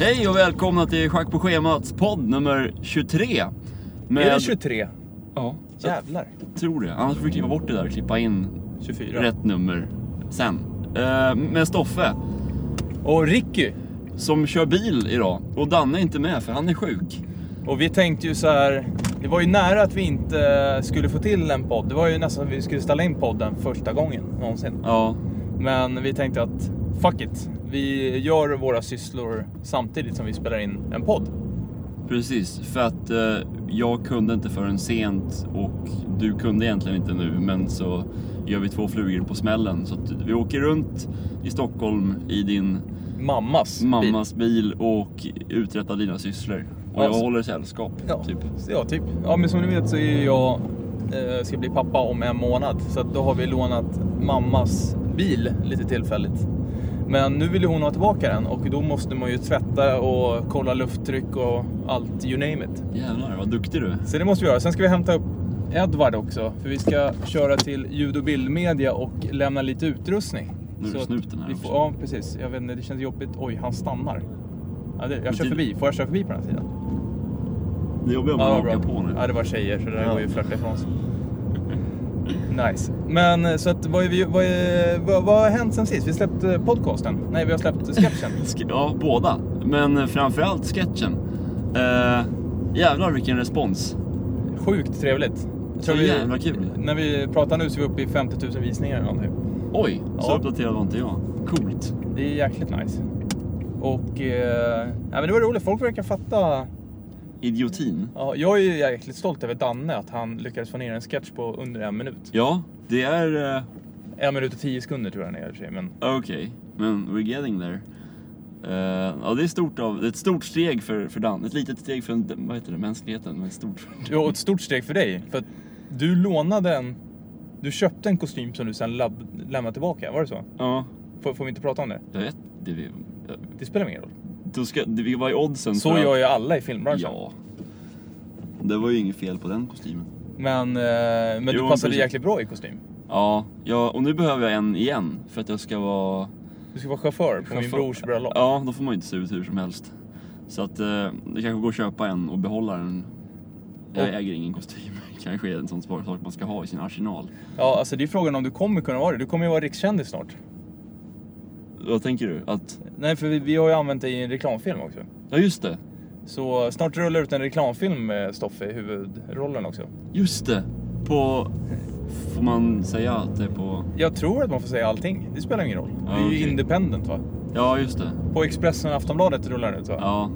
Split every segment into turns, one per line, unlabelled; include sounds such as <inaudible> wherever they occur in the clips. Hej och välkomna till Schack på schemats podd nummer 23. Med,
Är det 23?
Ja, jag
Jävlar.
tror det. Annars får vi klippa bort det där och klippa in
24.
rätt nummer sen. Eh, med Stoffe,
Och Ricky.
som kör bil idag. Och Danne är inte med för han är sjuk.
Och vi tänkte ju så här. Det var ju nära att vi inte skulle få till en podd. Det var ju nästan att vi skulle ställa in podden första gången någonsin.
Ja,
Men vi tänkte att fuck it. Vi gör våra sysslor samtidigt som vi spelar in en podd.
precis. För att eh, jag kunde inte förrän sent och du kunde egentligen inte nu. Men så gör vi två flugor på smällen. Så att vi åker runt i Stockholm i din
Mammas bil.
mammas bil och uträtta dina sysslor. Och jag
Ja, så-
håller sällskap.
Alltså- Ja,
Typ.
så- ja, typ. Ja, men som ni vet så är jag, eh, ska bli pappa om en månad. Så att då har vi lånat mammas bil lite tillfälligt. Men nu vill ju hon ha tillbaka den och då måste man ju tvätta och kolla lufttryck och allt, you name it.
Jävlar vad duktig du är.
Så det måste vi göra. Sen ska vi hämta upp Edvard också, för vi ska köra till ljud och bildmedia och lämna lite utrustning.
Nu är
Så att
snuten här
vi
också.
får, Ja, precis. Jag vet inte, det känns jobbigt. Oj, han stannar. Ja, det, jag kör
det-
förbi. Får jag köra förbi på den här sidan?
Det jobbar om
Ja,
man
bra.
hakar på nu.
Ja, det var tjejer så det där
Ja.
går ju att flörta ifrån sig. Nice. Men eh, så att vad, är vi, vad, är, vad, vad har hänt sen sist? Vi släppte podcasten. Nej, vi har
<laughs>
släppt sketchen.
Sk- Ja, båda. Men eh, framförallt sketchen. Eh, jävlar vilken respons.
Sjukt trevligt. Jag
Så jävla kul.
När vi pratar nu så är vi uppe i 50 000 visningar eller någonting.
Oj, så
Ja.
uppdaterad var inte jag. Coolt.
Det är jäkligt nice. Och eh, ja, men det var roligt. Folk verkar fatta.
Idiotin.
Ja, jag är ju jäkligt stolt över Danne att han lyckades få ner en sketch på under en minut.
Ja, det är... eh,
En minut och tio sekunder tror jag han är i och för sig. Men
Okej, men we're getting there. Eh, ja, det är, stort av, det är ett stort steg för, för Dan. Ett litet steg för en- vad heter det, mänskligheten, men ett stort för
Det var ett stort steg för dig. För att du lånade en... Du köpte en kostym som du sen lab- lämnade tillbaka, var det så?
Ja,
Får, får vi inte prata om det?
jag vet. Det, vi-
Det spelar ingen roll.
då ska, det, vi var i oddsen
Så
Mm, för att-
gör ju alla i filmbranschen.
Ja. Det var ju inget fel på den kostymen.
Men, eh, men
Jo,
du passade
precis.
jäkligt bra i kostym.
Ja, ja, och nu behöver jag en igen för att jag ska vara...
Du ska vara chaufför på min
Chaufför.
brors bröllop.
Ja, då får man ju inte se ut hur som helst. Så att eh, det kanske går att köpa en och behålla den. Jag
Och-
äger ingen kostym. <laughs> Kanske är en sån svar- sak man ska ha i sin arsenal.
Ja, alltså det är frågan om du kommer kunna vara det. Du kommer ju vara rikskändis snart.
Vad tänker du? Att...
Nej, för vi, vi har ju använt dig i en reklamfilm också.
Ja, just det.
Så snart rullar ut en reklamfilm med Stoffe i huvudrollen också.
Just det. På... Får man säga att det är på...
Jag tror att man får säga allting. Det spelar ingen roll.
Ja,
det är ju
okej.
independent va?
Ja, just det.
På Expressen och Aftonbladet rullar den ut va?
Ja.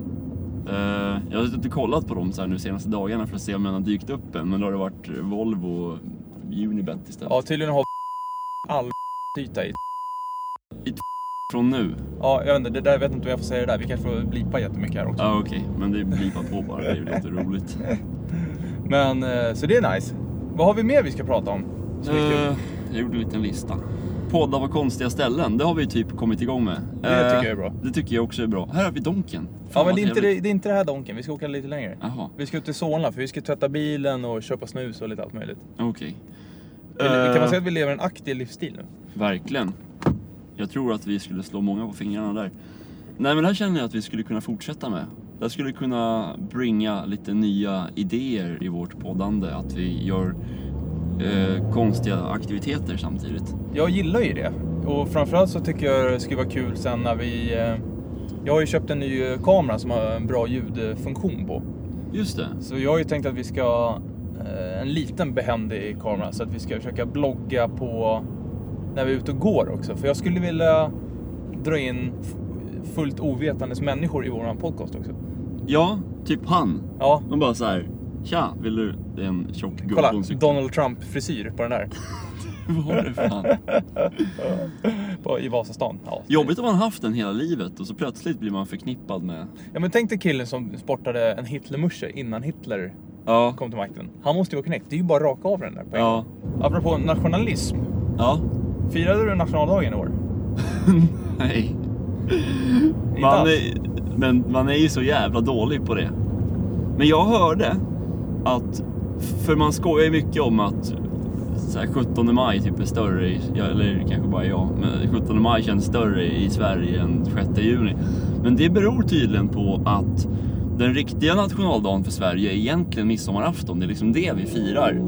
Eh, jag har suttit och kollat på dem så här nu senaste dagarna för att se om den har dykt upp än, men då har det varit Volvo och Unibet istället.
Ja, tydligen har all yta i.
Från nu?
Ja, jag vet inte, det där jag vet inte om jag får säga det där. Vi kanske får blipa jättemycket här också.
Ja okej, men det blipar på bara, det är ju lite roligt.
<laughs> Men, eh, så det är nice. Vad har vi mer vi ska prata om? Som är kul?
Eh, jag gjorde en liten lista. Poddar på konstiga ställen, det har vi ju typ kommit igång med.
Det
Eh,
tycker jag är bra.
Det tycker jag också är bra. Här har vi Donken. Fan,
Ja, men
vad
det är, inte det,
trevligt.
det är inte det här donken. Vi ska åka lite längre.
Jaha,
Vi ska ut till Solna för vi ska tvätta bilen och köpa snus och lite allt möjligt.
okej.
Vi- Kan man
Eh,
säga att vi lever en aktiv livsstil nu?
Verkligen. Jag tror att vi skulle slå många på fingrarna där. Nej men det här känner jag att vi skulle kunna fortsätta med. Det här skulle kunna bringa lite nya idéer i vårt poddande. Att vi gör eh, konstiga aktiviteter samtidigt.
Jag gillar ju det. Och framförallt så tycker jag det skulle vara kul sen när vi... eh, Jag har ju köpt en ny eh, kamera som har en bra ljudfunktion på.
Just det.
Så jag har ju tänkt att vi ska eh, en liten behändig kamera så att vi ska försöka blogga på när vi är ute och går också. För jag skulle vilja dra in f- fullt ovetandes människor i våran podcast också.
Ja, typ han.
Ja,
De bara så här. Tja, vill du? Det är en tjock gubbe
kolla
på en cykel.
Donald Trump frisyr på
<laughs>
den där.
Vad var det för han?
På, I Vasastan. Ja.
Jobbigt om man haft den hela livet och så plötsligt blir man förknippad med...
ja men tänk dig killen som sportade en Hitlermusche innan Hitler
Ja.
kom till makten. Han måste ju vara knäckt. Det är ju bara att raka av den där på en
Ja.
gång. Apropå nationalism.
Ja.
Firade du nationaldagen i år?
Nej.
Inte
Man
alls.
är, men man är ju så jävla dålig på det. Men jag hörde att, för man skojar ju mycket om att så här 17 maj typ är större, i, ja, eller kanske bara jag, men 17 maj känns större i Sverige än 6 juni. Men det beror tydligen på att den riktiga nationaldagen för Sverige är egentligen midsommarafton. Det är liksom det vi firar.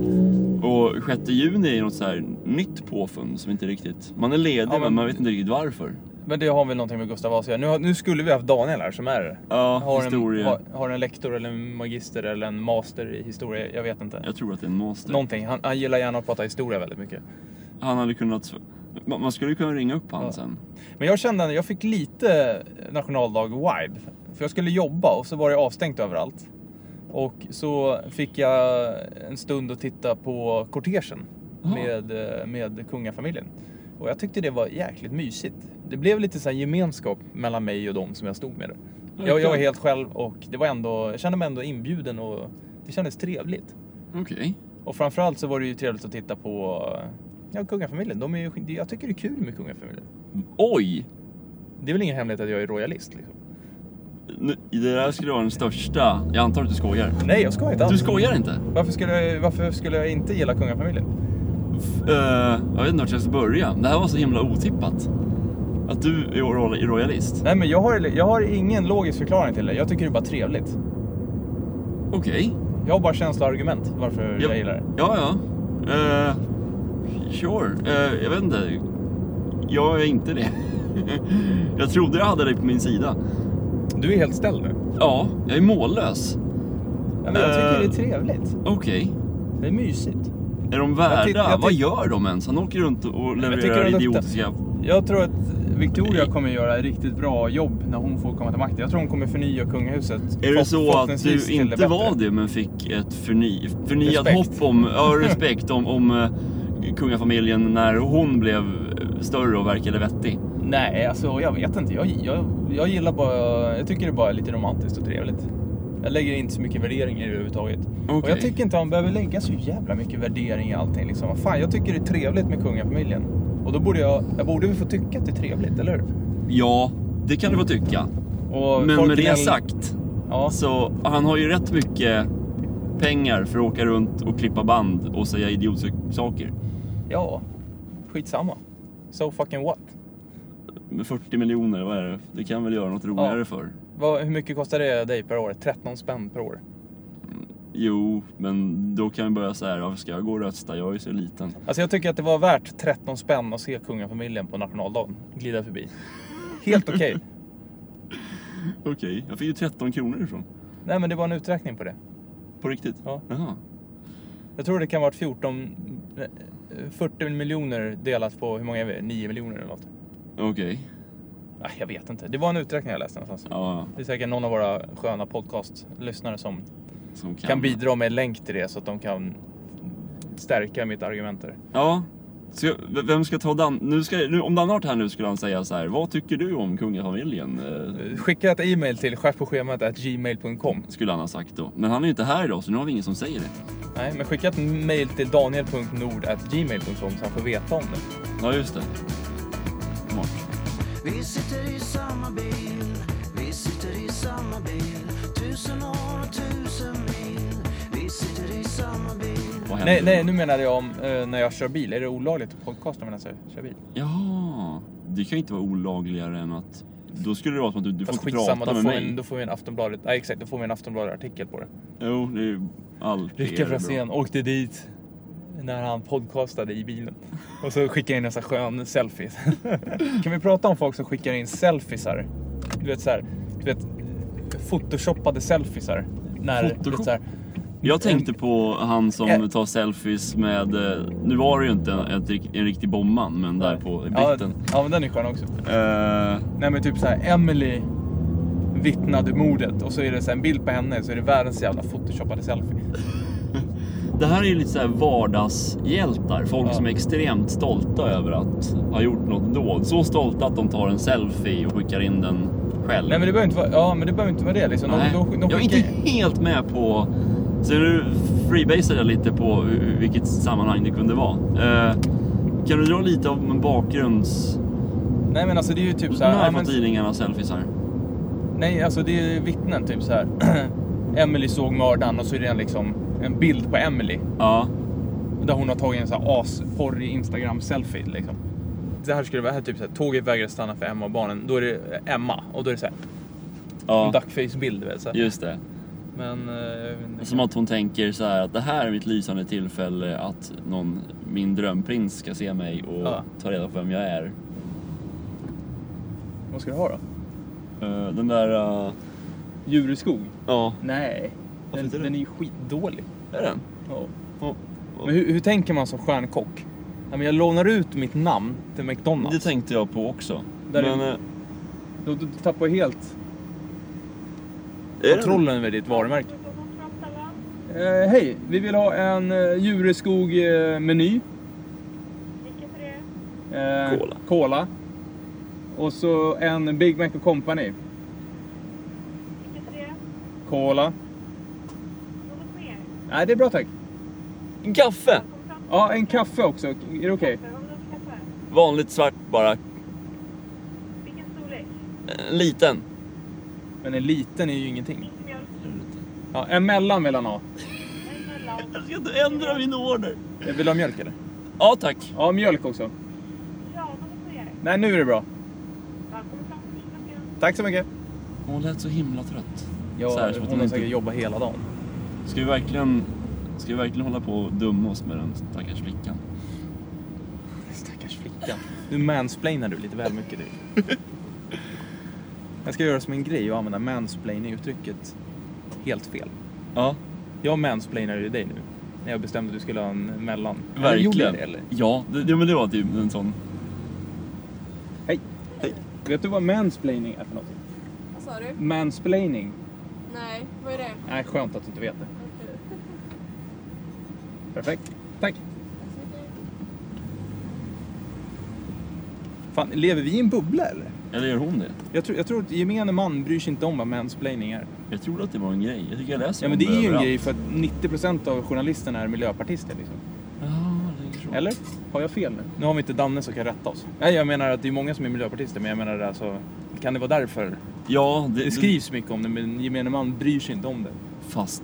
Och 6 juni är något så här nytt påfund som inte riktigt... Man är ledig
Ja, men-
men man vet inte riktigt varför.
Men det har väl någonting med Gustav Vasa att göra. nu, har- nu skulle vi haft Daniel här som är
Ja,
har en,
historia.
har, har en lektor eller en magister eller en master i historia. Jag vet inte.
Jag tror att det är en master.
Någonting. Han, han gillar gärna att prata historia väldigt mycket.
Han hade kunnat... Man man skulle ju kunna ringa upp han sen.
Men jag kände att jag fick lite nationaldag-vibe. För jag skulle jobba och så var det avstängt överallt. Och så fick jag en stund att titta på kortegen
Jaha.
med, med kungafamiljen. Och jag tyckte det var jäkligt mysigt. Det blev lite så här gemenskap mellan mig och dem som jag stod med. där. Jag, jag var helt själv och det var ändå, jag kände mig ändå inbjuden och det kändes trevligt.
Okej.
Och framförallt så var det ju trevligt att titta på ja, kungafamiljen. De är ju, jag tycker det är kul med kungafamiljen.
Oj!
Det är väl ingen hemlighet att jag är royalist liksom.
Nu, det där skulle vara den största... Jag antar att du skojar.
Nej, jag skojar inte
Du
alls.
skojar inte?
Varför skulle, jag, varför skulle jag inte gilla kungafamiljen?
F- eh, jag vet inte vart jag ska börja. Det här var så himla otippat. Att du är ro- royalist.
Nej, men jag har, jag har ingen logisk förklaring till det. Jag tycker det är bara trevligt.
Okej.
Jag har bara känsla och argument varför jag gillar det.
Ja, ja. Eh, sure. Eh, jag vet inte. Jag är inte det. <laughs> jag trodde jag hade dig på min sida.
Du är helt ställd nu.
Ja, jag är mållös.
Ja, men jag tycker
Eh.
det är trevligt.
Okej.
Det är mysigt.
Är de
Jag
värda?
tyck- jag tyck-
Vad gör de ens? Han åker runt och
tycker
levererar
det luktar-
idiotiska...
Jag tror att Victoria kommer göra ett riktigt bra jobb när hon får komma till makten. Jag tror hon kommer förnya kungahuset.
Är det
Förhopp-
så att
förhoppningsvis
du
till
inte
bättre.
var det men fick ett förny, förnyat
Respekt.
hopp om, ja, respekt om, om eh, kungafamiljen när hon blev eh, större och verkade vettig?
Nej, alltså jag vet inte. Jag, jag, jag gillar bara... Jag tycker det bara är lite romantiskt och trevligt. Jag lägger inte så mycket värdering i det överhuvudtaget. Och
Okej.
jag tycker inte att man behöver lägga så jävla mycket värdering i allting. Liksom. Vad Fan, jag tycker det är trevligt med kungafamiljen. Och då borde jag... Jag borde väl få tycka att det är trevligt, eller hur?
Ja, det kan du få tycka.
Och
Men
folk
med det
gnäll-
sagt,
Ja,
så han har ju rätt mycket pengar för att åka runt och klippa band och säga idiotiska saker.
ja, skitsamma. So fucking what?
Med 40 miljoner, vad är det? Det kan väl göra något roligare för?
Vad, hur mycket kostar det dig per år? 13 spänn per år.
Jo, men då kan vi börja så här, varför ska jag gå och rösta? Jag är ju så liten.
Alltså jag tycker att det var värt 13 spänn att se kungafamiljen på nationaldagen glida förbi. Helt okej.
Okej, jag fick ju 13 kronor ifrån.
Nej men det var en uträkning på det.
På riktigt?
Ja.
Jaha.
Jag tror det kan vara 14... eh, 40 miljoner delat på hur många är vi? 9 miljoner eller något.
Okej.
Nej, jag vet inte. Det var en uträkning jag läste någonstans.
Ja,
Det är säkert någon av våra sköna podcastlyssnare som
som kan.
kan bidra med en länk till det så att de kan stärka mitt argument där.
Ja. Så, jag- v- vem ska ta Dan? Nu ska, nu, om Dan har varit här nu skulle han säga så här, vad tycker du om kungafamiljen? Eh,
Eh, Skicka ett e-mail till skärpåschemat.gmail.com.
skulle han ha sagt då. Men han är ju inte här idag så nu har vi ingen som säger det.
Nej, men skicka ett mail till daniel.nord.gmail.com så han får veta om det.
Ja, just det. Smart.
Vi sitter i samma bil, vi sitter i samma bil Tusen år och tusen mil, vi sitter i samma bil
Vad händer?
Nej, nej, nu menade jag om eh, när jag kör bil. Är det olagligt att podcasta medan jag kör bil?
Jaha. Det kan ju inte vara olagligare än att... Då skulle det vara som att du, du får
Fast
inte
skitsamma,
prata med
då får,
mig.
vi en, då får vi en Aftonbladet... Nej, exakt. Då får vi en Aftonbladet-artikel på det.
Jo, det är ju allt. det är
Rickard
bra.
Franzén åkte dit när han podcastade i bilen. Och så skickade jag in en sån här skön selfie. <laughs> kan vi prata om folk som skickar in selfiesar? Du vet så här, du vet photoshoppade selfiesar. När, du
Photoshop?
vet, så här,
Jag tänkte på han som
Eh.
tar selfies med, eh, nu var det ju inte en, en, en riktig bomman, men där på
ja,
britten.
ja, men den är skön också.
Eh,
Nej men typ så här, Emily vittnade mordet och så är det så här, en bild på henne så är det världens jävla photoshoppade selfie.
det här är ju lite såhär vardagshjältar, folk
Ja.
som är extremt stolta över att ha gjort något dåd. Så stolta att de tar en selfie och skickar in den själv.
Nej men det behöver inte vara, ja, men det behöver inte vara det liksom. De-
Nej,
de- de
jag är
skickar-
inte helt med på... Så nu freebasar jag lite på hur- vilket sammanhang det kunde vara. Eh, kan du dra lite om en bakgrunds...
Nej men alltså det är ju typ så här...
När
ja,
får
men-
tidningarna selfies här?
Nej, alltså det är vittnen typ så här. <clears throat> Emily såg mördaren och så är det en, liksom, en bild på Emily.
Ja.
Där hon har tagit en så här asporrig Instagram-selfie liksom. Det här skulle vara här, typ så här, tåget vägrar stanna för Emma och barnen. Då är det Emma och då är det så här, en
Ja,
duckface-bild. du vet, Så här.
just det.
Men... eh, jag vet inte.
Som att hon tänker så här att det här är mitt lysande tillfälle att någon, min drömprins ska se mig och
Ja.
ta reda på vem jag är.
Vad ska du ha då?
Eh, Den där... eh,
Djur i skog?
Ja.
Nej.
Varför
Den,
inte det?
den är ju skitdålig.
Är den?
Ja.
Ja.
Men hur, hur tänker man som stjärnkock? Ja, men jag lånar ut mitt namn till McDonalds.
Det tänkte jag på också.
Där är-
Men... eh,
Då, då tappar jag helt
är den-
kontrollen över ditt varumärke. Eh, Hej, vi vill ha en eh, Jureskog-meny. Eh,
Cola.
Cola. Och så en Big Mac och Company. Cola. Nej, det är bra tack.
En Kaffe!
Ja, en kaffe också. Är det okej?
Vanligt svart bara. En liten.
Men en liten är ju ingenting. Ja, en mellan vill han ha.
Jag ska inte ändra min order.
Eh, Vill du ha mjölk eller?
Ja tack.
Ja, mjölk också. Nej, nu är det bra. Tack så mycket.
Hon lät så himla trött.
Ja,
Så här, så att
hon
hon
har
inte-
säkert jobbat hela dagen.
Ska vi verkligen, ska vi verkligen hålla på och dumma oss med den stackars flickan?
Stackars flickan. Nu mansplainar du lite väl mycket du. Jag ska göra som en grej och använda mansplaining-uttrycket helt fel.
Ja,
Jag mansplainar ju dig nu. När jag bestämde att du skulle ha en mellan. Eller gjorde jag
verkligen.
det, eller?
Ja, det, ja, men det var typ en sån.
Vet du vad mansplaining är för något?
Vad sa du?
Mansplaining?
Nej, vad är det?
Nej, skönt att du inte vet det.
Okej.
Perfekt. Tack. Fan, lever vi i en bubbla eller?
Eller gör hon det?
Jag tror, jag tror att gemene man bryr sig inte om vad mansplaining är.
Jag trodde att det var en grej. Jag tycker jag läser
Ja, men
om
det är ju en
överallt.
grej för att 90% av journalisterna är miljöpartister liksom.
Ja, det är så.
Eller? Har jag fel nu? Nu har vi inte Danne som kan rätta oss. Nej, jag menar att det är många som är miljöpartister, men jag menar alltså... Kan det vara därför?
Ja, det,
Det skrivs mycket om det, men gemene man bryr sig inte om det.
Fast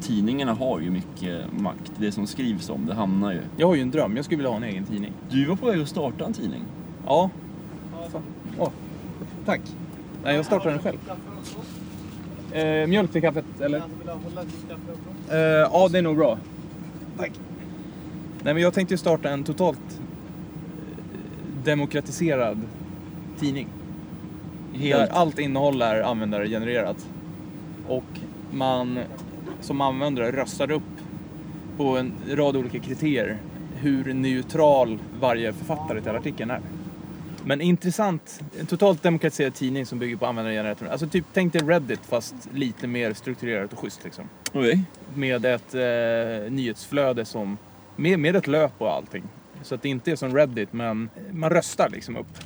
tidningarna har ju mycket makt. Det som skrivs om det hamnar ju.
Jag har ju en dröm, jag skulle vilja ha en egen tidning.
Du var på väg att starta en tidning.
Ja. Fan. Åh, tack. Nej, jag startar den själv. Eh, mjölk till kaffet, eller? Eh, ja, det är nog bra. Tack. Nej, men jag tänkte ju starta en totalt eh, demokratiserad tidning. Där
Helt.
allt innehåll är användargenererat. Och man som användare röstar upp på en rad olika kriterier hur neutral varje författare till artikeln är. Men intressant, en totalt demokratiserad tidning som bygger på användargeneratorn. Alltså typ, tänk dig Reddit fast lite mer strukturerat och schysst liksom.
Okej.
Med ett eh, nyhetsflöde som, med, med ett löp och allting. Så att det inte är som Reddit men man röstar liksom upp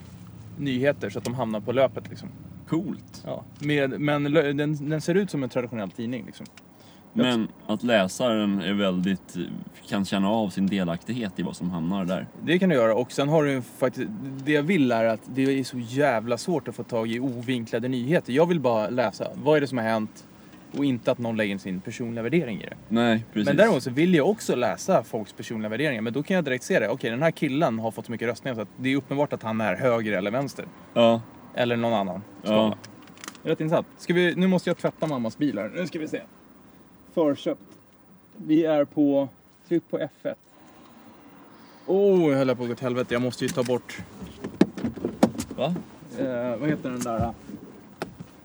nyheter så att de hamnar på löpet liksom.
Coolt.
Ja, med, men lö- den, den ser ut som en traditionell tidning. Liksom.
Men att läsaren är väldigt, kan känna av sin delaktighet i vad som hamnar där.
Det kan du göra. Och sen har du ju faktiskt, det jag vill är att det är så jävla svårt att få tag i ovinklade nyheter. Jag vill bara läsa, vad är det som har hänt? Och inte att någon lägger in sin personliga värdering i det.
Nej, precis.
Men däremot så vill jag också läsa folks personliga värderingar. Men då kan jag direkt se det. Okej, den här killen har fått så mycket röstningar så att det är uppenbart att han är höger eller vänster.
Ja.
Eller någon annan.
ja.
Rätt intressant. Ska vi, nu måste jag tvätta mammas bil här. Nu ska vi se. Förköpt. Vi är på... Tryck på F1. Oh, jag höll på att gå till helvete. Jag måste ju ta bort...
Va?
Eh, vad heter den där?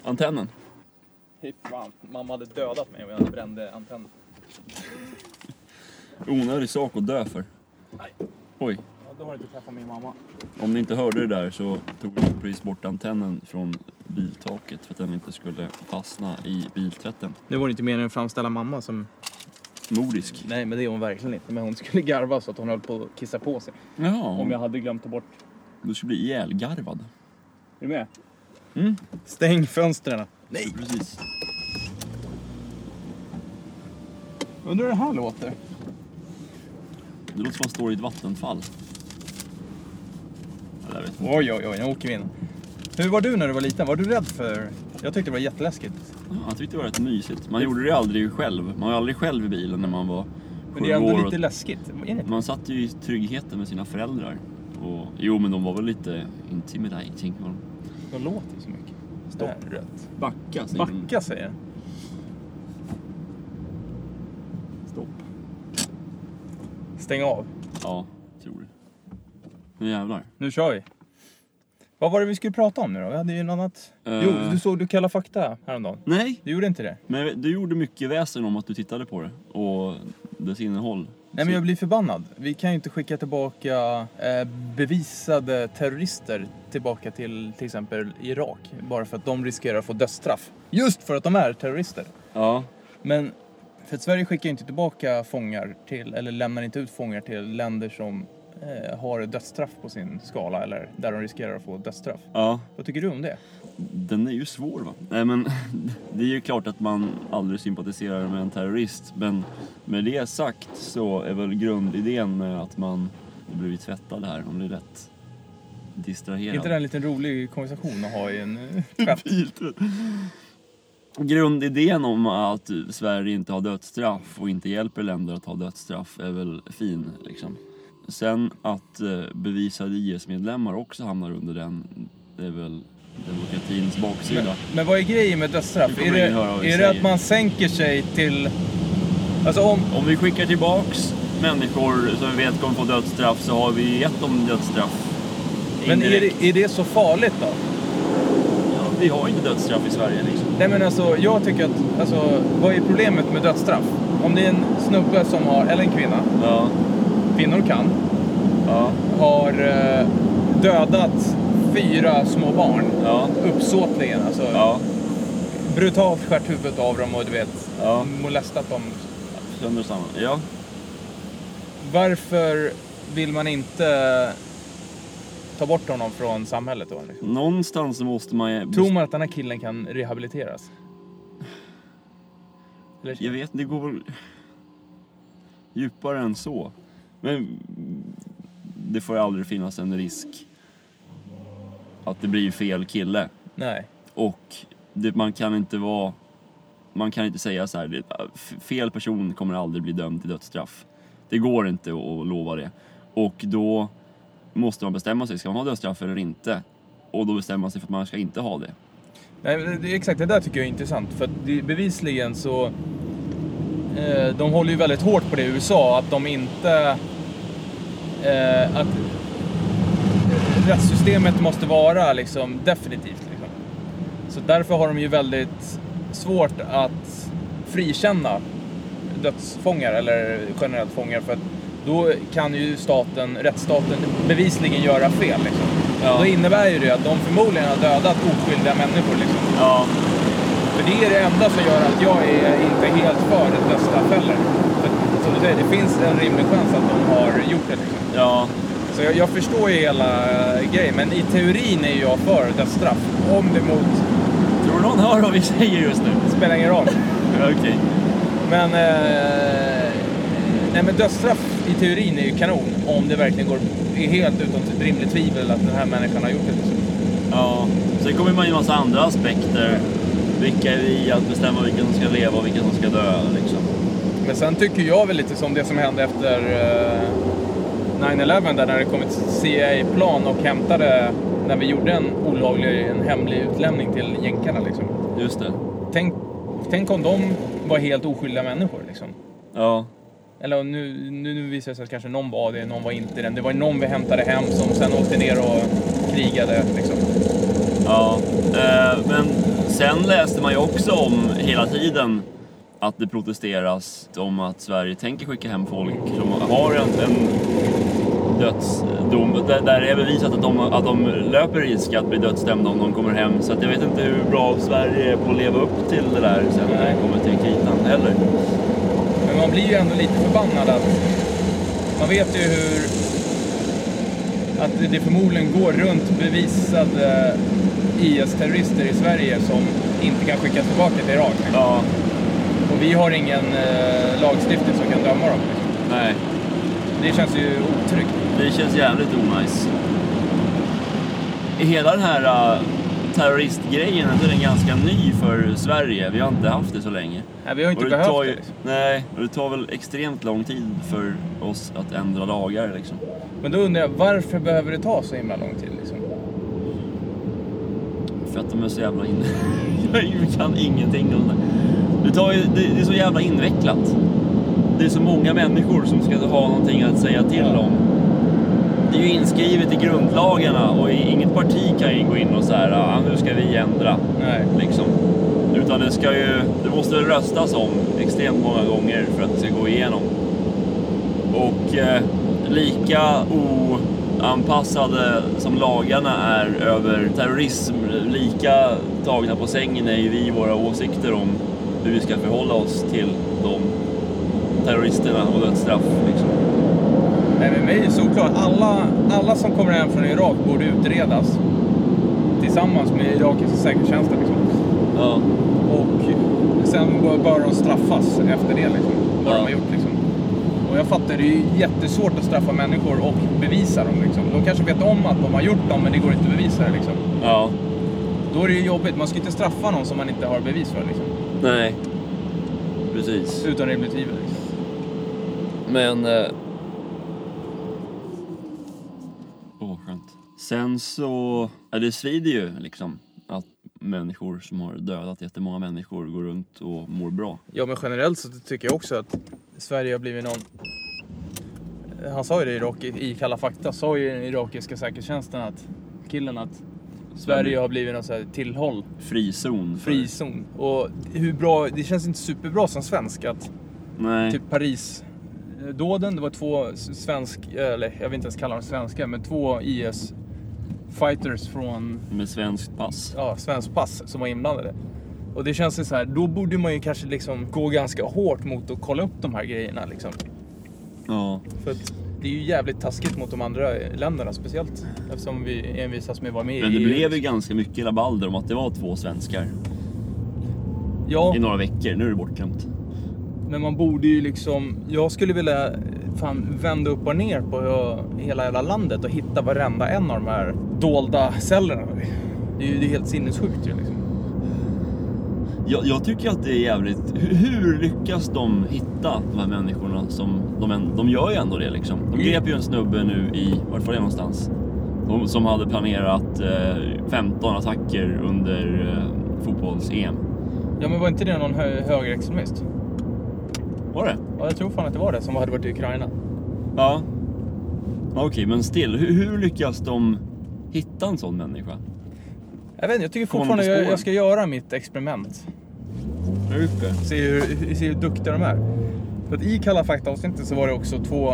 Antennen?
Fy fan, mamma hade dödat mig om jag brände antennen.
Onödig sak att dö för.
Nej.
Oj.
Ja, då har du inte träffat min mamma.
Om ni inte hörde det där så tog vi precis bort antennen från biltaket för att den inte skulle fastna i biltvätten.
Nu var det inte meningen att framställa mamma som...
Modisk.
Nej, men det är hon verkligen inte. Men hon skulle garva så att hon höll på att kissa på sig.
Ja.
Om jag hade glömt ta bort...
Du skulle bli ihjälgarvad.
Är du med?
Mm.
Stäng fönstren.
Nej! Precis.
Undrar hur det här låter?
Det låter som att man står i ett vattenfall. Eller jag vet inte.
Oj, oj, oj, nu åker vi in. Hur var du när du var liten? Var du rädd för... Jag tyckte det var jätteläskigt.
Ja, jag tyckte det var rätt mysigt. Man gjorde det aldrig själv. Man var aldrig själv i bilen när man var
Men det är ändå
går
lite
åt-
läskigt. Är det?
Man satt ju i tryggheten med sina föräldrar. Och, jo, men de var väl lite intimidating. var de.
De låter ju så mycket.
Stopp.
Där, Rätt.
Backa, säger de.
Backa säger jag.
Stopp.
Stäng av.
Ja, tror det. Nu jävlar.
Nu kör vi. Vad var det vi skulle prata om nu då? Vi hade ju något annat.
Eh.
Jo, du såg du Kalla fakta häromdagen.
Nej,
Du gjorde inte det?
men du gjorde mycket väsen om att du tittade på det och dess innehåll.
Nej men jag blir förbannad. Vi kan ju inte skicka tillbaka eh, bevisade terrorister tillbaka till till exempel Irak. Bara för att de riskerar att få dödsstraff. Just för att de är terrorister.
Ja,
Men för att Sverige skickar ju inte tillbaka fångar till, eller lämnar inte ut fångar till länder som eh, har dödsstraff på sin skala eller där de riskerar att få dödsstraff.
ja.
Vad tycker du om det?
Den är ju svår va? Nej <laughs> men det är ju klart att man aldrig sympatiserar med en terrorist men med det sagt så är väl grundidén med att man nu blir vi tvättade här, hon blir rätt
Är inte
distraherad.
det en liten rolig konversation att ha i en eh, tvätt?
Biltrött. Grundidén om att Sverige inte har dödsstraff och inte hjälper länder att ha dödsstraff är väl fin liksom. Sen att eh, bevisade IS-medlemmar också hamnar under den, det är väl demokratins baksida.
Men, men vad är grejen med dödsstraff?
Nu
Är
kommer
det,
ingen höra vad vi
är det att
säger.
man sänker sig till... Alltså om...
Om vi skickar tillbaks människor som vi vet kommer få dödsstraff så har vi gett dem dödsstraff.
Men är
Indirekt.
det, är det så farligt då?
Ja, vi har inte dödsstraff i Sverige liksom.
Nej men alltså, jag tycker att... Alltså, vad är problemet med dödsstraff? Om det är en snubbe som har, eller en kvinna,
Ja,
kvinnor kan,
ja,
har eh, dödat fyra små barn
ja,
uppsåtligen. Alltså
ja.
brutalt skärt huvudet av dem och du vet,
Ja.
molestat dem.
Sönder samma. Ja,
Varför vill man inte ta bort honom från samhället då? Liksom?
någonstans måste man ju...
Tror man att den här killen kan rehabiliteras? Eller,
Jag vet, det går väl djupare än så. Men det får ju aldrig finnas en risk att det blir fel kille.
Nej.
Och det, man kan inte vara... Man kan inte säga så här, det, f- fel person kommer aldrig bli dömd till dödsstraff. Det går inte att, att lova det. Och då måste man bestämma sig, ska man ha dödsstraff eller inte? Och då bestämmer man sig för att man ska inte ha det.
Nej, men det, exakt, det där tycker jag är intressant. För att det, bevisligen så... Eh, de håller ju väldigt hårt på det i USA, att de inte... Eh, att eh, rättssystemet måste vara liksom definitivt. Liksom. Så därför har de ju väldigt svårt att frikänna dödsfångar, eller generellt fångar, för att då kan ju staten, rättsstaten bevisligen göra fel. Liksom.
Ja.
Då innebär ju det att de förmodligen har dödat oskyldiga människor. Liksom.
Ja,
För det är det enda som gör att jag är inte helt för ett dödsstraff heller. För Som du säger, det finns en rimlig chans att de har gjort det. Liksom.
ja,
Så jag, jag förstår ju hela eh, grejen, men i teorin är jag för dödsstraff. Om det mot...
tror du någon hör vad vi säger just nu?
spelar ingen roll.
Okej.
Men... Eh, nej men dödsstraff i teorin är ju kanon om det verkligen går är helt utom rimligt tvivel att den här människan har gjort det. Liksom.
Ja, sen kommer man ju en massa andra aspekter. Vilka är vi att bestämma vilka som ska leva och vilka som ska dö liksom.
Men sen tycker jag väl lite som det som hände efter eh, 9-11 där när det kom ett CIA-plan och hämtade när vi gjorde en olaglig, en hemlig utlämning till jänkarna liksom.
Just det.
Tänk, tänk om de var helt oskyldiga människor liksom.
Ja,
Eller nu, nu, nu visar det sig att kanske någon var det, någon var inte det. Det var ju någon vi hämtade hem som sen åkte ner och krigade liksom.
ja. Eh, men sen läste man ju också om hela tiden att det protesteras om att Sverige tänker skicka hem folk som har en, en dödsdom. Där, där är bevisat att de, att de löper risk att bli dödsdömda om de kommer hem. Så att jag vet inte hur bra Sverige är på att leva upp till det där sen när det kommer till kritan heller.
Men man blir ju ändå lite förbannad att man vet ju hur att det förmodligen går runt bevisade IS-terrorister i Sverige som inte kan skickas tillbaka till Irak.
Ja,
Och vi har ingen eh, lagstiftning som kan döma dem.
nej.
Det känns ju otryggt.
Det känns jävligt onajs. Hela den här uh, terroristgrejen ändå är den ganska ny för Sverige. Vi har inte haft det så länge.
Nej, vi har ju
Och
inte
det
behövt
tar
det.
ju,
Liksom.
nej, och det tar väl extremt lång tid för oss att ändra lagar liksom.
Men då undrar jag, varför behöver det ta så himla lång tid? Liksom?
För att de är så jävla in... <laughs> Jag kan ingenting om det. Det, tar ju, det. det är så jävla invecklat. Det är så många människor som ska ha någonting att säga till om. Det är ju inskrivet i grundlagarna och i- inget parti kan ju gå in och så här, ah, nu ska vi ändra.
Nej.
Liksom. Utan det ska ju, det måste röstas om extremt många gånger för att det ska gå igenom. Och eh, lika oanpassade som lagarna är över terrorism, lika tagna på sängen är ju vi i våra åsikter om hur vi ska förhålla oss till de terroristerna och dödsstraff. Liksom.
Nej, men mig är såklart. Alla, alla som kommer hem från Irak borde utredas. Tillsammans med irakiska säkerhetstjänsten. Liksom.
Ja.
Och sen bör- bör de straffas efter det. Liksom, vad
Ja.
de har gjort. Liksom. Och jag fattar, det är ju jättesvårt att straffa människor och bevisa dem. Liksom. De kanske vet om att de har gjort dem, men det går inte att bevisa det. Liksom.
ja.
Då är det ju jobbigt. Man ska ju inte straffa någon som man inte har bevis för. Liksom.
Nej. Precis.
Utan rimligt tvivel. Liksom.
Men... eh, Åh, skönt. Sen så... Ja, det svider ju liksom att människor som har dödat jättemånga människor går runt och mår bra.
Ja, men generellt så tycker jag också att Sverige har blivit någon... Han sa ju det i, Irak, i Kalla fakta, sa ju den irakiska säkerhetstjänsten att killen att Sverige har blivit någon så här tillhåll,
Frizon. för-
frizon. Och hur bra, det känns inte superbra som svensk att
Nej.
typ Paris eh, dåden, det var två s- svensk, eh, eller jag vill inte ens kalla dem svenska, men två IS fighters från
Med svenskt pass.
ja, svensk pass som var inblandade. Och det känns ju så här, då borde man ju kanske liksom gå ganska hårt mot att kolla upp de här grejerna liksom.
Ja.
För att det är ju jävligt taskigt mot de andra länderna speciellt eftersom vi envisas med att vara med
Men det
i-
blev ju ganska mycket rabalder om att det var två svenskar
Ja,
i några veckor. Nu är det bortglömt.
men man borde ju liksom, jag skulle vilja fan vända upp och ner på hela jävla landet och hitta varenda en av de här dolda cellerna. Det är ju det är helt sinnessjukt ju liksom.
Jag, jag tycker att det är jävligt... Hur, hur lyckas de hitta de här människorna? Som, de, en- de gör ju ändå det liksom. De grep ju en snubbe nu i... Vart var det någonstans? De, som hade planerat eh, 15 attacker under eh, fotbolls-EM.
Ja men var inte det någon hö- högerextremist?
Var det?
Ja, jag tror fan att det var det som hade varit i Ukraina.
Ja. Okej, men still. Hur, hur lyckas de hitta en sån människa?
Jag vet inte, jag tycker
Kommer
fortfarande
på spåren.
jag, jag ska göra mitt experiment. Se hur, se hur duktiga de är. För att i Kalla fakta-avsnittet så var det också två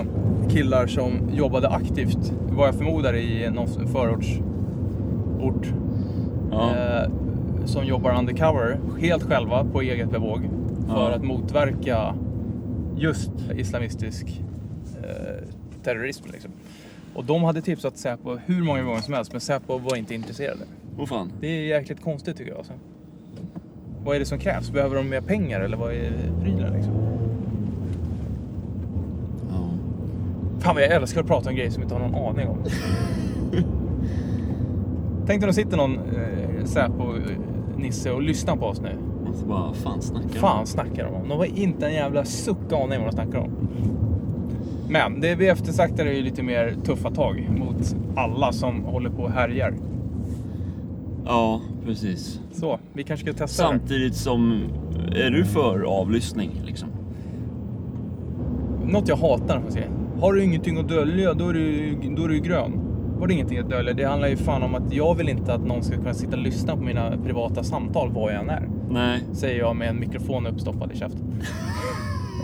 killar som jobbade aktivt, vad jag förmodar i någon förortsort.
Ja.
Eh, som jobbar undercover, helt själva, på eget bevåg. För
Ja.
att motverka just islamistisk eh, terrorism. Liksom. Och de hade tipsat Säpo hur många gånger som helst, men Säpo var inte intresserade.
Åh fan.
Det är jäkligt konstigt tycker jag. Alltså. Vad är det som krävs? Behöver de mer pengar eller vad är prylen liksom?
Ja.
Fan vad jag älskar att prata om grejer som jag inte har någon aning om. Tänk dig om det sitter någon eh, Säpo-nisse och lyssnar på oss nu.
Och så bara, fan snackar de?
Fan snackar de om? De har inte en jävla suck aning om vad de snackar om. Men det vi eftersaktar är ju lite mer tuffa tag mot alla som håller på och härjar.
Ja, precis.
Så, vi kanske ska testa det.
Samtidigt som... Är du för avlyssning liksom?
Något jag hatar får jag säga. Har du ingenting att dölja, då är du, då är du grön. Har du ingenting att dölja? Det handlar ju fan om att jag vill inte att någon ska kunna sitta och lyssna på mina privata samtal var jag än är.
Nej.
Säger jag med en mikrofon uppstoppad i käften.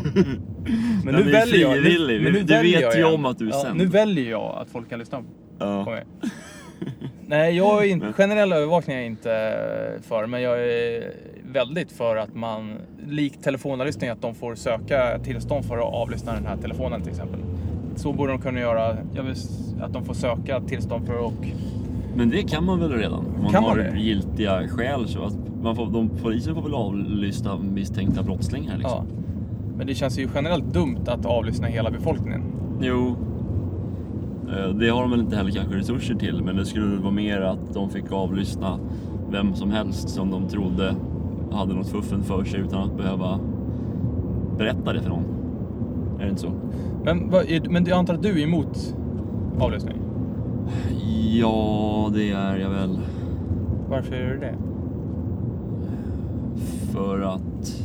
<laughs> Men det är frivillig. Du vet ju
igen.
om att du är sänd.
Nu väljer jag att folk kan lyssna på
Ja.
mig. Nej, jag är inte,
Men-
generell övervakning är jag inte eh, för, men jag är väldigt för att man, likt telefonavlyssning, att de får söka tillstånd för att avlyssna den här telefonen till exempel. Så borde de kunna göra, jag vill, s- att de får söka tillstånd för och...
Men det kan man väl redan? Om Man
Kan
har
man det?
giltiga skäl så att man får, de, polisen får väl avlyssna misstänkta brottslingar
Ja.
liksom?
Men det känns ju generellt dumt att avlyssna hela befolkningen.
Jo. Eh, Det har de väl inte heller kanske resurser till men det skulle väl vara mer att de fick avlyssna vem som helst som de trodde hade något fuffen för sig utan att behöva berätta det för någon. Är det inte så?
Men, vad är, men jag antar att du är emot avlyssning?
Ja, det är jag väl.
Varför är du det?
För att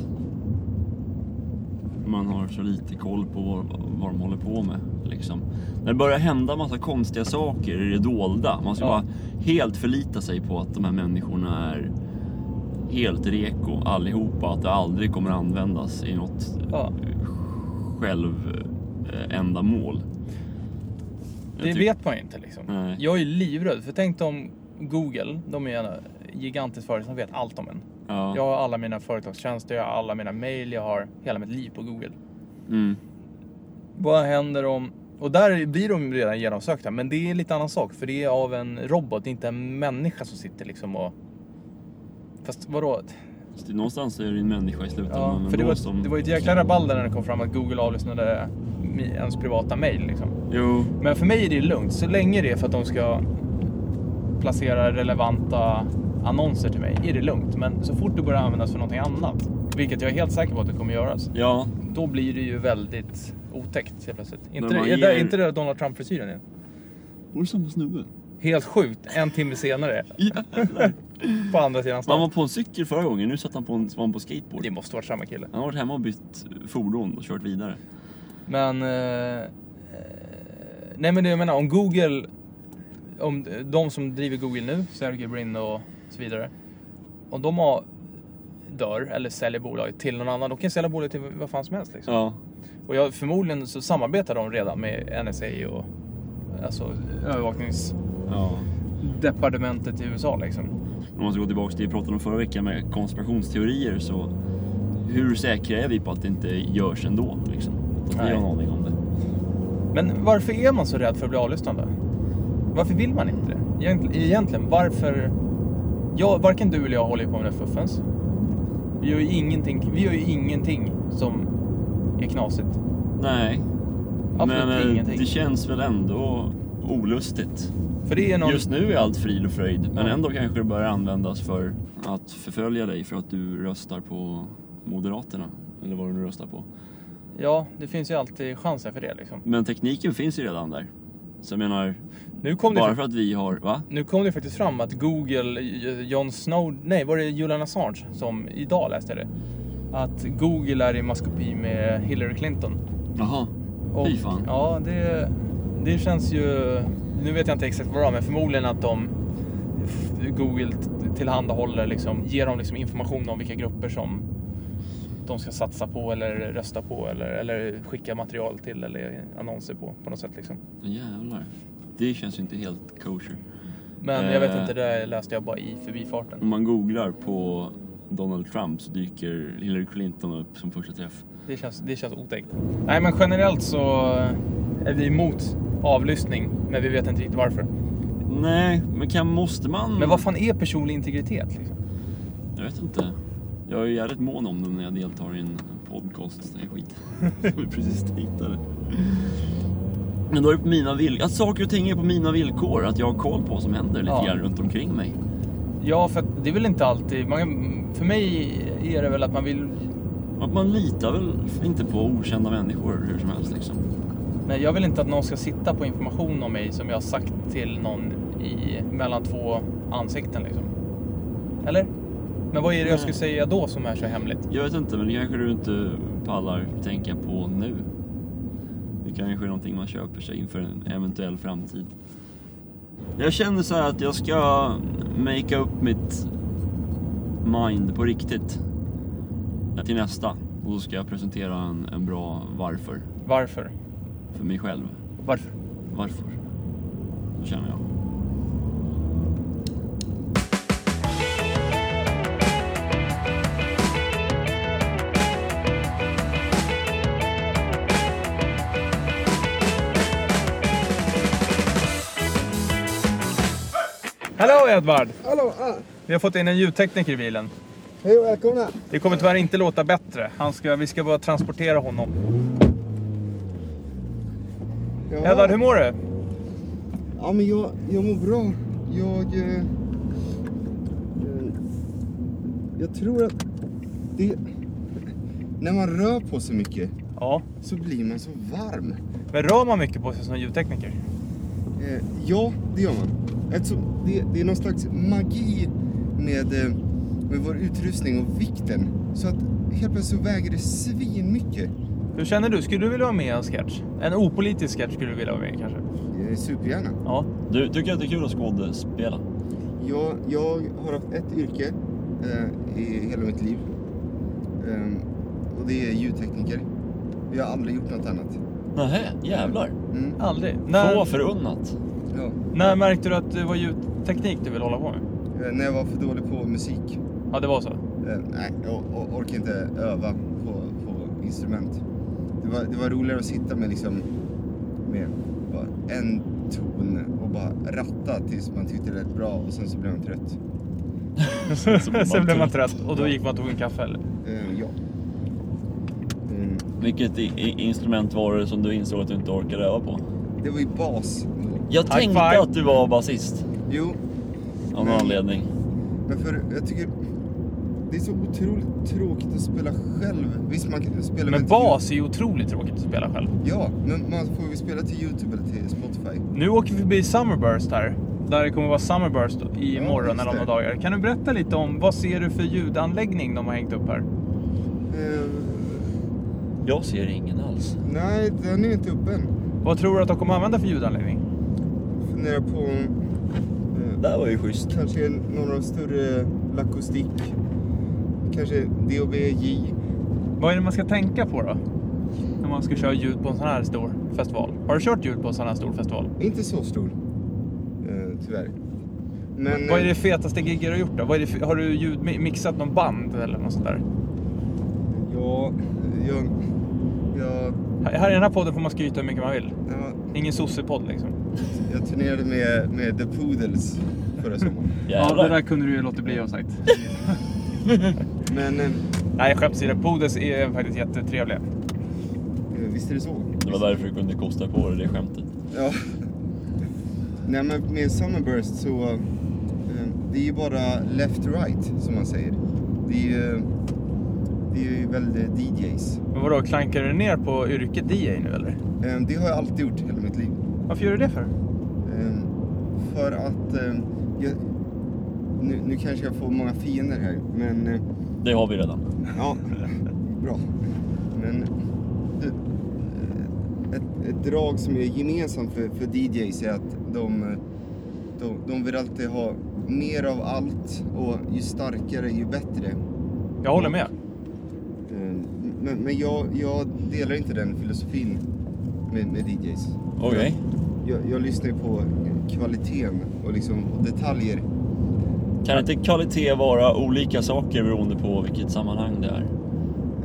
man har så lite koll på vad, vad de håller på med. Liksom. När det börjar hända massa konstiga saker i det dolda. Man ska
Ja.
bara helt förlita sig på att de här människorna är helt reko allihopa. Att det aldrig kommer användas i något
Ja.
självändamål. Jag
Det
tyck-
vet man ju inte liksom.
Nej.
Jag är livrädd. För tänk om Google, de är en gigantisk företag som vet allt om en.
Ja.
Jag har alla mina företagstjänster, jag har alla mina mejl, jag har hela mitt liv på Google.
Mm.
Vad händer om... Och där blir de redan genomsökta, men det är en lite annan sak. För det är av en robot, det är inte en människa som sitter liksom och... Fast vadå?
Så det- Någonstans är det en människa i slutändan.
Ja,
ändå
för det var,
som...
det var ju ett jäkla rabalder när det kom fram att Google avlyssnade mi- ens privata mejl. Liksom.
Jo,
Men för mig är det lugnt, så länge det är för att de ska placera relevanta annonser till mig är det lugnt. Men så fort det börjar användas för någonting annat, vilket jag är helt säker på att det kommer göras,
ja,
då blir det ju väldigt otäckt helt plötsligt. Inte,
man
det, är
ger-
det, inte det Donald Trump-frisyren är?
Var det samma snubbe?
Helt sjukt, en
<laughs>
timme senare på andra sidan
Man
stan.
var på en cykel förra gången, nu satt han på, en, var han på skateboard.
Det måste varit samma kille.
Han har varit hemma och bytt fordon och kört vidare.
Men... Eh, eh, nej men det jag menar, om Google... Om de som driver Google nu, Sergey Brin och så vidare. Om de har, dör eller säljer bolaget till någon annan, de kan sälja bolaget till vad fan som helst. Liksom.
Ja,
Och jag, förmodligen så samarbetar de redan med NSA och alltså, övervakningsdepartementet
ja.
i USA. Liksom.
Om man ska gå tillbaka till det vi pratade om förra veckan med konspirationsteorier så hur säkra är vi på att det inte görs ändå? Liksom? Att vi
Nej.
har en aning om det.
Men varför är man så rädd för att bli avlyssnad då? Varför vill man inte det? Egent- Egentligen, varför... Jag, varken du eller jag håller ju på med det fuffens. Vi gör ju ingenting, vi gör ju ingenting som är knasigt.
Nej,
Absolut
men eh,
ingenting.
det känns väl ändå olustigt.
För det är någon...
Just nu är allt frid och fröjd, men
Ja.
ändå kanske det börjar användas för att förfölja dig för att du röstar på Moderaterna. Eller vad du nu röstar på.
Ja, det finns ju alltid chanser för det liksom.
Men tekniken finns ju redan där. Så jag menar,
Nu kom,
bara
det,
för att vi har... Va?
nu kom det faktiskt fram att Google, eh, Jon Snow... Nej, var det Julian Assange som idag läste jag det? Att Google är i maskopi med Hillary Clinton.
Jaha.
Och,
Fy fan.
Ja, det, det känns ju... Nu vet jag inte exakt vad det var, men förmodligen att de Google tillhandahåller, liksom, ger dem liksom information om vilka grupper som de ska satsa på eller rösta på eller, eller skicka material till eller annonser på på något sätt. Liksom.
Jävlar. Det känns ju inte helt kosher.
Men jag vet
Eh.
inte, det där läste jag bara i förbifarten.
Om man googlar på Donald Trump så dyker Hillary Clinton upp som första träff.
Det känns, det känns otäckt. Nej, men generellt så är vi emot avlyssning, men vi vet inte riktigt varför.
Nej, men kan, måste man...
Men vad fan är personlig integritet? Liksom?
Jag vet inte. Jag är ju jävligt mån om den när jag deltar i en podcast. Det är skit. <laughs> Som vi precis hittade. Men då är det på mina villkor. Att saker och ting är på mina villkor. Att jag har koll på vad som händer lite
Ja.
grann runt omkring mig.
Ja, för att det är väl inte alltid... Man, för mig är det väl att man vill...
Att man litar väl inte på okända människor hur som helst liksom.
Nej, jag vill inte att någon ska sitta på information om mig som jag har sagt till någon i, mellan två ansikten. Liksom. Eller? Men vad är det jag skulle säga då som är så hemligt?
Jag vet inte, men det kanske du inte pallar tänka på nu. Det kanske är någonting man köper sig inför en eventuell framtid. Jag känner så här att jag ska make upp mitt mind på riktigt. Till nästa. Och då ska jag presentera en, en bra varför.
Varför?
För mig själv.
Varför?
Varför? Så känner jag.
Hallå Edvard!
Hallå! Ah,
Vi har fått in en ljudtekniker i bilen.
hej och välkomna!
Det kommer tyvärr inte låta bättre. Han ska, vi ska bara transportera honom.
Ja,
Edvard, hur mår du?
Ja, men jag, jag mår bra. Jag... Eh, eh, Jag tror att
Det... När man rör på sig mycket
Ja.
så blir man så varm.
Men rör man mycket på sig som ljudtekniker?
Eh, ja, det gör man. Eftersom det, det är någon slags magi med, eh, med vår utrustning och vikten. Så att helt plötsligt så väger det svinmycket.
Hur känner du? Skulle du vilja vara med i en sketch? En opolitisk sketch skulle du vilja vara med i kanske?
Eh, supergärna.
Ja.
Du tycker att det är kul att skådespela?
Jag, jag har haft ett yrke eh, i hela mitt liv. Ehm, och det är ljudtekniker. Jag har aldrig gjort något annat.
Nähä, jävlar.
Mm,
Aldrig.
Få
När,
förunnat.
ja.
när märkte du att det var ljudteknik du ville hålla på med?
Eh, när jag var för dålig på musik.
Ja, det var så.
Eh, nej, jag or- orkar inte öva på, på instrument. Det var, det var roligare att sitta med liksom med bara en ton och bara ratta tills man tyckte det lät bra och sen så blev man trött.
Sen blev man trött och då gick man och tog en kaffe eller?
Eh, ja. Mm,
Vilket i- i- instrument var det som du insåg att du inte orkade öva på?
det var ju bas.
Jag
High
tänkte
five.
att du var basist
Jo,
av någon
Nej.
anledning.
Men för jag tycker det är så otroligt tråkigt att spela själv. Visst man kan spela
Men
med-
bas är ju otroligt tråkigt att spela själv.
Ja, men man får ju spela till Youtube eller till Spotify.
Nu åker vi förbi Summerburst här. Där det kommer vara Summerburst
Ja,
imorgon
just
eller om några
det.
dagar. Kan du berätta lite om vad ser du för ljudanläggning de har hängt upp här?
Eh,
Jag ser ingen alls.
nej, den är inte uppe än.
Vad tror du att de kommer använda för ljudanläggning?
Funderar på eh,
Det här var ju schysst.
kanske någon av de större Lacoustique. Kanske DOBJ.
Vad är det man ska tänka på då? När man ska köra ljud på en sån här stor festival. Har du kört ljud på en sån här stor festival?
Inte så stor. Eh, tyvärr. Men, eh,
Vad är det fetaste giget du har gjort då? Vad är det för, har du ljud, mixat någon band eller något sånt där?
eh, Ja, jag... Jag,
Här- Här i den här podden får man skryta hur mycket man vill.
jag,
Ingen sossepodd liksom.
jag turnerade med, med The Poodles förra sommaren.
Jävlar.
kunde du ju låta bli att sagt.
Men eh,
<laughs> Nej, skämt åsido. Poodles är faktiskt jättetrevliga.
visst är det så?
Det var därför du kunde kosta på dig det skämtet.
Ja. Nej men med Summerburst så, eh, det är ju bara left-right som man säger. Det är ju, det är ju väldigt DJs.
Men vadå, klankar du ner på yrket DJ nu eller?
Eh, Det har jag alltid gjort hela mitt liv.
Varför gör du det för?
Eh, För att, eh, jag, nu, nu kanske jag får många fiender här, men eh,
Det har vi redan. <laughs>
Ja, bra. Men det, eh, ett, ett drag som är gemensamt för, för DJs är att de, eh, de, de vill alltid ha mer av allt och ju starkare ju bättre.
Jag håller med.
Eh, Men, men jag, jag delar inte den filosofin med, med DJs.
Okej.
Jag, jag lyssnar ju på kvaliteten och, liksom, och detaljer.
Kan inte kvalitet vara olika saker beroende på vilket sammanhang det är?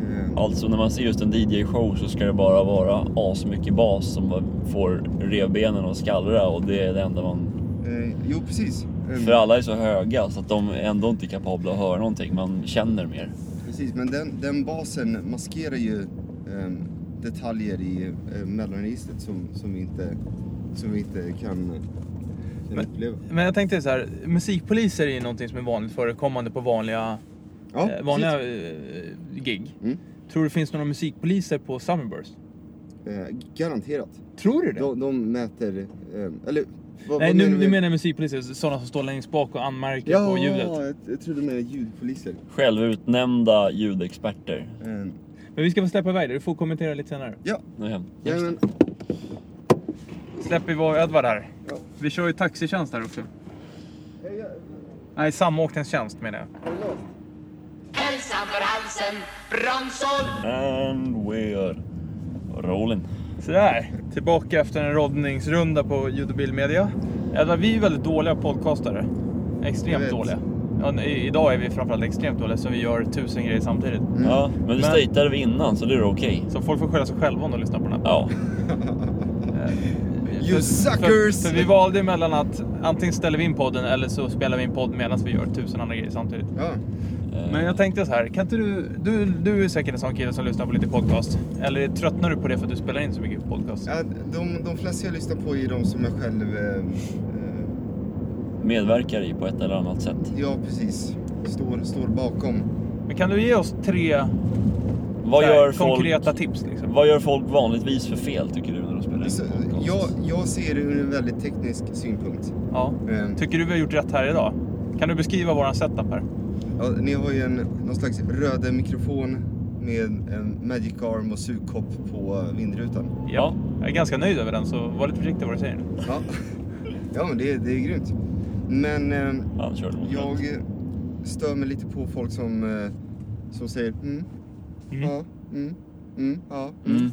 Eh,
Alltså när man ser just en DJ-show så ska det bara vara asmycket bas som bara får revbenen att skallra och det är det enda man...
eh, Jo, precis. Eh,
För alla är så höga så att de är ändå inte kapabla att höra någonting, man känner mer.
Precis, men den, den basen maskerar ju ehm, detaljer i eh, mellanregistret som, som, vi inte, som vi inte kan, kan
Men- eh,
uppleva.
Men jag tänkte så här, musikpoliser är ju någonting som är vanligt förekommande på vanliga,
Ja,
eh, vanliga
precis.
eh, gig.
Mm.
Tror du det finns några musikpoliser på Summerburst?
Eh, garanterat.
Tror du
De, de mäter... ehm, eller... Vad,
Nej,
vad
nu, nu
du?
menar jag musikpoliser, sådana som står längst bak och anmärker
Ja,
på ljudet.
jag, jag trodde du menade ljudpoliser.
Självutnämnda ljudexperter.
Ehm,
Men vi ska få släppa iväg det, du får kommentera lite senare.
ja,
Nu är jag hem.
ja men,
Släpper vi vår Edvard här.
Ja.
Vi kör ju taxitjänst här också. Nej, samåkningstjänst menar jag.
Hälsan för halsen, bronsål.
And we're rolling.
Sådär, tillbaka efter en roddningsrunda på ljud och bildmedia. Edvard, vi är väldigt dåliga podcastare.
Jag
Extremt
vet.
dåliga. Ja, i- idag är vi framförallt extremt dåliga så vi gör tusen grejer samtidigt.
Mm.
Ja, men det
Men-
stateade vi innan så det är okej.
Så folk får skylla sig själva om de lyssnar på den här.
Ja,
podden.
You suckers!
För, för vi valde emellan att antingen ställer vi in podden eller så spelar vi in podd medan vi gör tusen andra grejer samtidigt.
ja.
eh,
Men jag tänkte så här, kan inte du, du, du är säkert en sån kille som lyssnar på lite podcast. Eller tröttnar du på det för att du spelar in så mycket podcast?
ja de, de flesta jag lyssnar på är de som jag själv... ehm, eh,
medverkar i på ett eller annat sätt.
ja, precis. står, står bakom.
Men kan du ge oss tre
Vad
så här,
gör, folk,
konkreta tips? Liksom?
vad gör folk vanligtvis för fel tycker du när de spelar in
Så,
podcast?
Alltså, jag, jag ser det ur en väldigt teknisk synpunkt.
Ja.
Ehm,
Tycker du vi har gjort rätt här idag? Kan du beskriva våran setup här?
Ja, ni har ju en, någon slags röd mikrofon med en Magic Arm och sugkopp på vindrutan.
Ja. Jag är ganska nöjd över den, så var lite försiktig vad du säger nu.
Ja, ja men det, det är grymt. Men eh,
Han körde mot
jag
rött.
eh, stör mig lite på folk som, eh, som säger mm, ja, mm, mm, ja, mm.
Mm.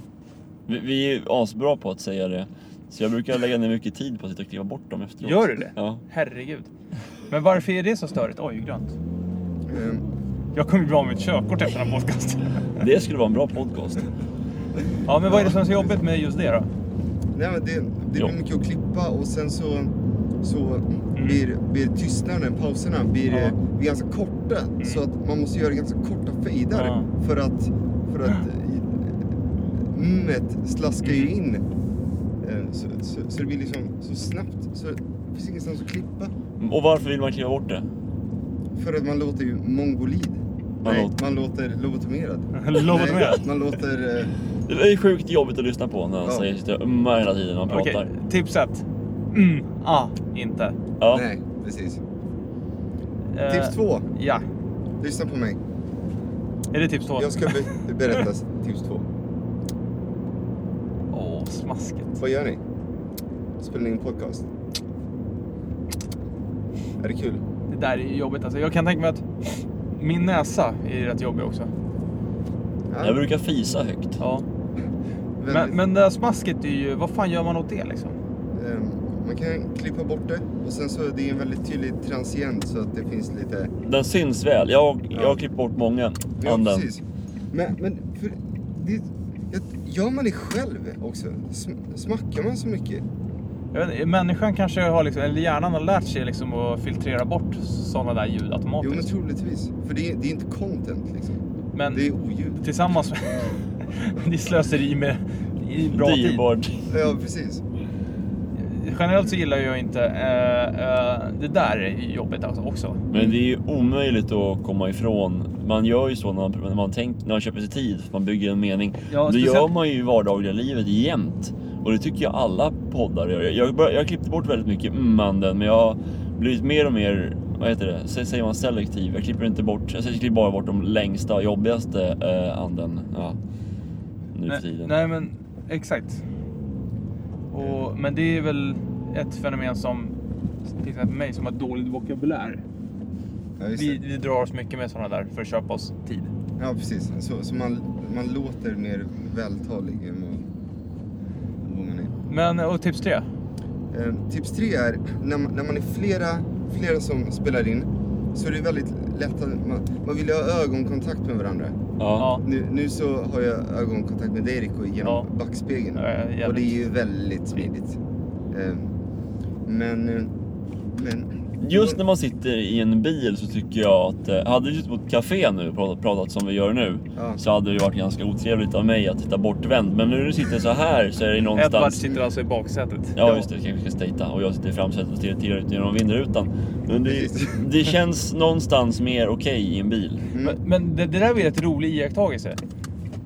Vi, vi är asbra på att säga det. Så jag brukar lägga ner mycket tid på att sitta och kliva bort dem efteråt.
Gör du det?
Ja.
Herregud. Men varför är det så störigt? Oj, grönt.
Eh,
Jag kommer ju bli av med ett körkort efter den här podcasten.
Det skulle vara en bra podcast.
Ja, men vad är det som är så jobbigt med just
<laughs>
det då?
Nej, men det, det
Ja.
blir mycket att klippa och sen så, så blir, blir tystnaden, pauserna, blir,
Ja.
eh, blir ganska korta. Så att man måste göra ganska korta fejdar
Ja.
för att, för att eh, mmet slaskar ju in. Eh, Så, så, så det blir liksom så snabbt. Så det finns ingenstans att klippa.
Och varför vill man kliva bort det?
För att man låter ju mongolid.
Man
Nej,
låter-
man låter lobotomerad.
Lobotomerad?
Nej, Man låter... eh,
Det är sjukt jobbigt att lyssna på när han
Ja.
säger sitta och ummar hela tiden när han
Okej,
pratar.
tips ett. Mm, ah, inte.
Ja.
Nej, precis.
Eh,
Tips två.
Ja.
Lyssna på mig.
Är det tips två?
Jag ska be- berätta tips två.
Åh, smaskigt.
Vad gör ni? Spelar ni in podcast? Är det kul?
Det där är ju jobbigt alltså. Jag kan tänka mig att min näsa är rätt jobbig också.
Jag brukar fisa högt.
Ja. Men,
väldigt.
men det där smasket är ju, vad fan gör man åt det liksom?
Ehm, Man kan klippa bort det och sen så är det en väldigt tydlig transient så att det finns lite...
Den syns väl. Jag, jag har klippt bort många.
Ja,
Anden.
precis. Men, men för det, jag- gör man det själv också? Sm- Smackar man så mycket?
Jag vet, inte, människan kanske har liksom, eller hjärnan har lärt sig liksom att filtrera bort sådana där ljud
Jo men
automatiskt.
troligtvis. För det, är- det är inte content liksom.
men
Det är oljud.
tillsammans <laughs> med... det är slöseri med i bra tid.
Dyrbar.
Ja precis.
Generellt så gillar jag inte... eh, eh, det där är jobbigt alltså också.
Men det är ju omöjligt att komma ifrån. Man gör ju så när man, när man, tänk, när man köper sig tid, för man bygger en mening.
Ja,
det
speciellt-
gör man ju i vardagliga livet jämt. Och det tycker jag alla poddar gör. Jag, jag, bör- jag klippte bort väldigt mycket mm-anden, men jag har blivit mer och mer, vad heter det, Sä- säger man selektiv? Jag klipper inte bort, jag klipper bara bort de längsta och jobbigaste eh, anden. Ja. Nu för
Nej,
tiden.
nej men exakt. Och, men det är väl ett fenomen som till exempel mig som har dålig vokabulär.
Ja, just
Vi,
det. Mm.
vi drar oss mycket med sådana där för att köpa oss tid.
ja precis. Så, så man, man låter mer vältalig än vad vad man är.
Men och tips tre.
Eh, Tips tre är, när man, när man är flera, flera som spelar in så är det väldigt lätt att man, man vill ju ha ögonkontakt med varandra.
Ja.
Ja.
Nu, nu så har jag ögonkontakt med dig Rico genom
Ja.
backspegeln.
Ja, ja, jävligt.
och det är ju väldigt smidigt. Eh, Men... eh, men
Just när man sitter i en bil så tycker jag att eh, hade vi suttit på ett café nu och pratat, pratat som vi gör nu
Ja.
så hade det varit ganska otrevligt av mig att titta bortvänd. Men nu när du sitter så här så är det
Edvard
någonstans...
sitter alltså i baksätet.
Ja just det, kanske vi ska stejta och jag sitter i framsätet och stirrar- tittar ut genom vindrutan. Men det,
Precis.
<laughs> det känns någonstans mer okej i en bil.
Men, men det, det där var ju ett rolig iakttagelse.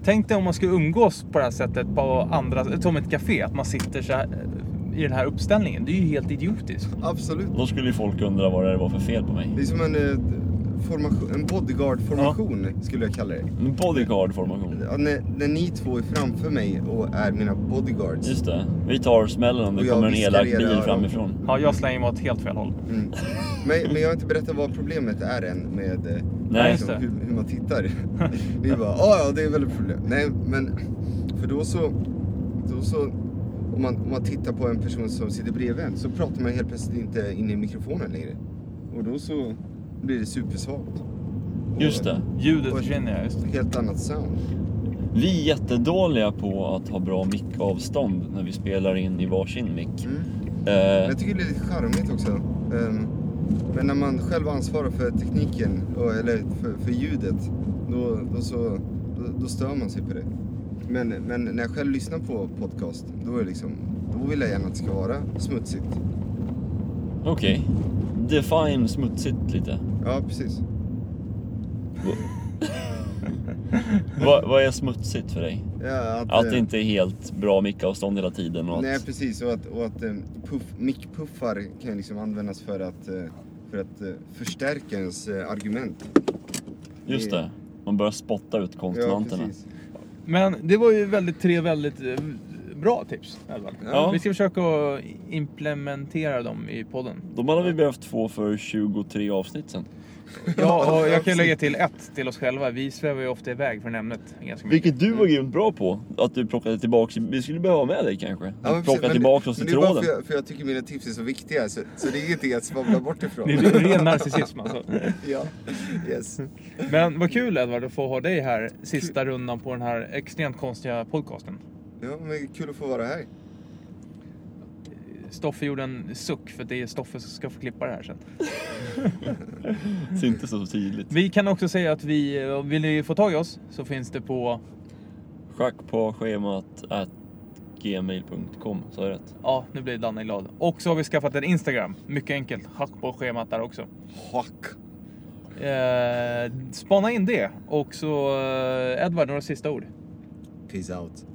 Tänk dig om man skulle umgås på det här sättet på andra, som ett café, att man sitter så här, eh, i den här uppställningen. Det är ju helt idiotiskt.
Absolut.
Då skulle ju folk undra vad det var för fel på mig.
Det är som en, eh, formation, en bodyguard-formation skulle jag kalla det.
En bodyguard-formation.
Ja, när, när ni två är framför mig och är mina bodyguards.
Just det, vi tar smällen om
Och
det
jag
kommer en
viskar
elak
i era
bil
öron.
framifrån.
Ja, jag slänger mig åt helt fel håll.
Mm. Men, men jag har inte berättat vad problemet är än med eh,
Nej,
just det.
hur, hur
<laughs>
man tittar. Vi bara, "Ah, ja ja det är väl ett problem. Nej men, för då så, då så om, man, om man tittar på en person som sitter bredvid en så pratar man helt plötsligt inte in i mikrofonen längre. Och då så blir det supersvagt. Och
Just det.
Ljudet
Och-
försvinner, ja, just det.
ett Helt annat sound.
Vi är jättedåliga på att ha bra mickavstånd när vi spelar in i varsin mick.
Mm. Men
Eh,
jag tycker det är lite charmigt också. Ehm, Men när man själv ansvarar för tekniken, och- eller för, för ljudet, då, då, så, då, då stör man sig på det. Men, men när jag själv lyssnar på podcast, då, är det liksom, då vill jag gärna att det ska vara smutsigt.
Okej. Define smutsigt lite.
Ja, precis.
Vad, vad är smutsigt för dig?
Ja, att,
Att
eh,
det inte är helt bra mickavstånd hela tiden och
Nej
att...
precis, och att, och att eh, puff, mickpuffar kan ju liksom användas för att, eh, för att eh, förstärka ens eh, argument.
Just det. Man börjar spotta ut konsonanterna.
Men det var ju väldigt, tre väldigt eh, bra tips. Edvard.
Ja.
Vi ska försöka att implementera dem i podden.
De hade vi behövt få för 23 avsnitt sen.
Mm.
Ja, och <laughs> jag kan ju lägga till ett till oss själva. Vi svävar ju ofta iväg från ämnet ganska mycket.
Vilket du var grymt bra på. Att du plockade tillbaks. Vi skulle behöva ha med dig kanske.
Ja, men
Att plocka
precis, men
tillbaka
det-
oss till
men det är bara
tråden.
För jag, för jag tycker mina tips är så viktiga så, så det är ingenting att svabbla bort ifrån.
Det är ren narcissism alltså.
<laughs> ja, yes.
Men vad kul Edvard att få ha dig här sista rundan på den här extremt konstiga podcasten.
Ja, men kul att få vara här.
Stoffe gjorde en suck för att det är Stoffe som ska få klippa det här sen.
Det är inte så tydligt.
Vi kan också säga att vi, eh, vill ni få tag i oss så finns det på,
Schack på schemat at gmail.com. Sa jag rätt?
ja nu blir Danne glad. Och så har vi skaffat en Instagram, mycket enkelt. Hack på schemat där också.
Hack.
Eh, spana in det. Och så eh, Edvard, några sista ord.
Peace out.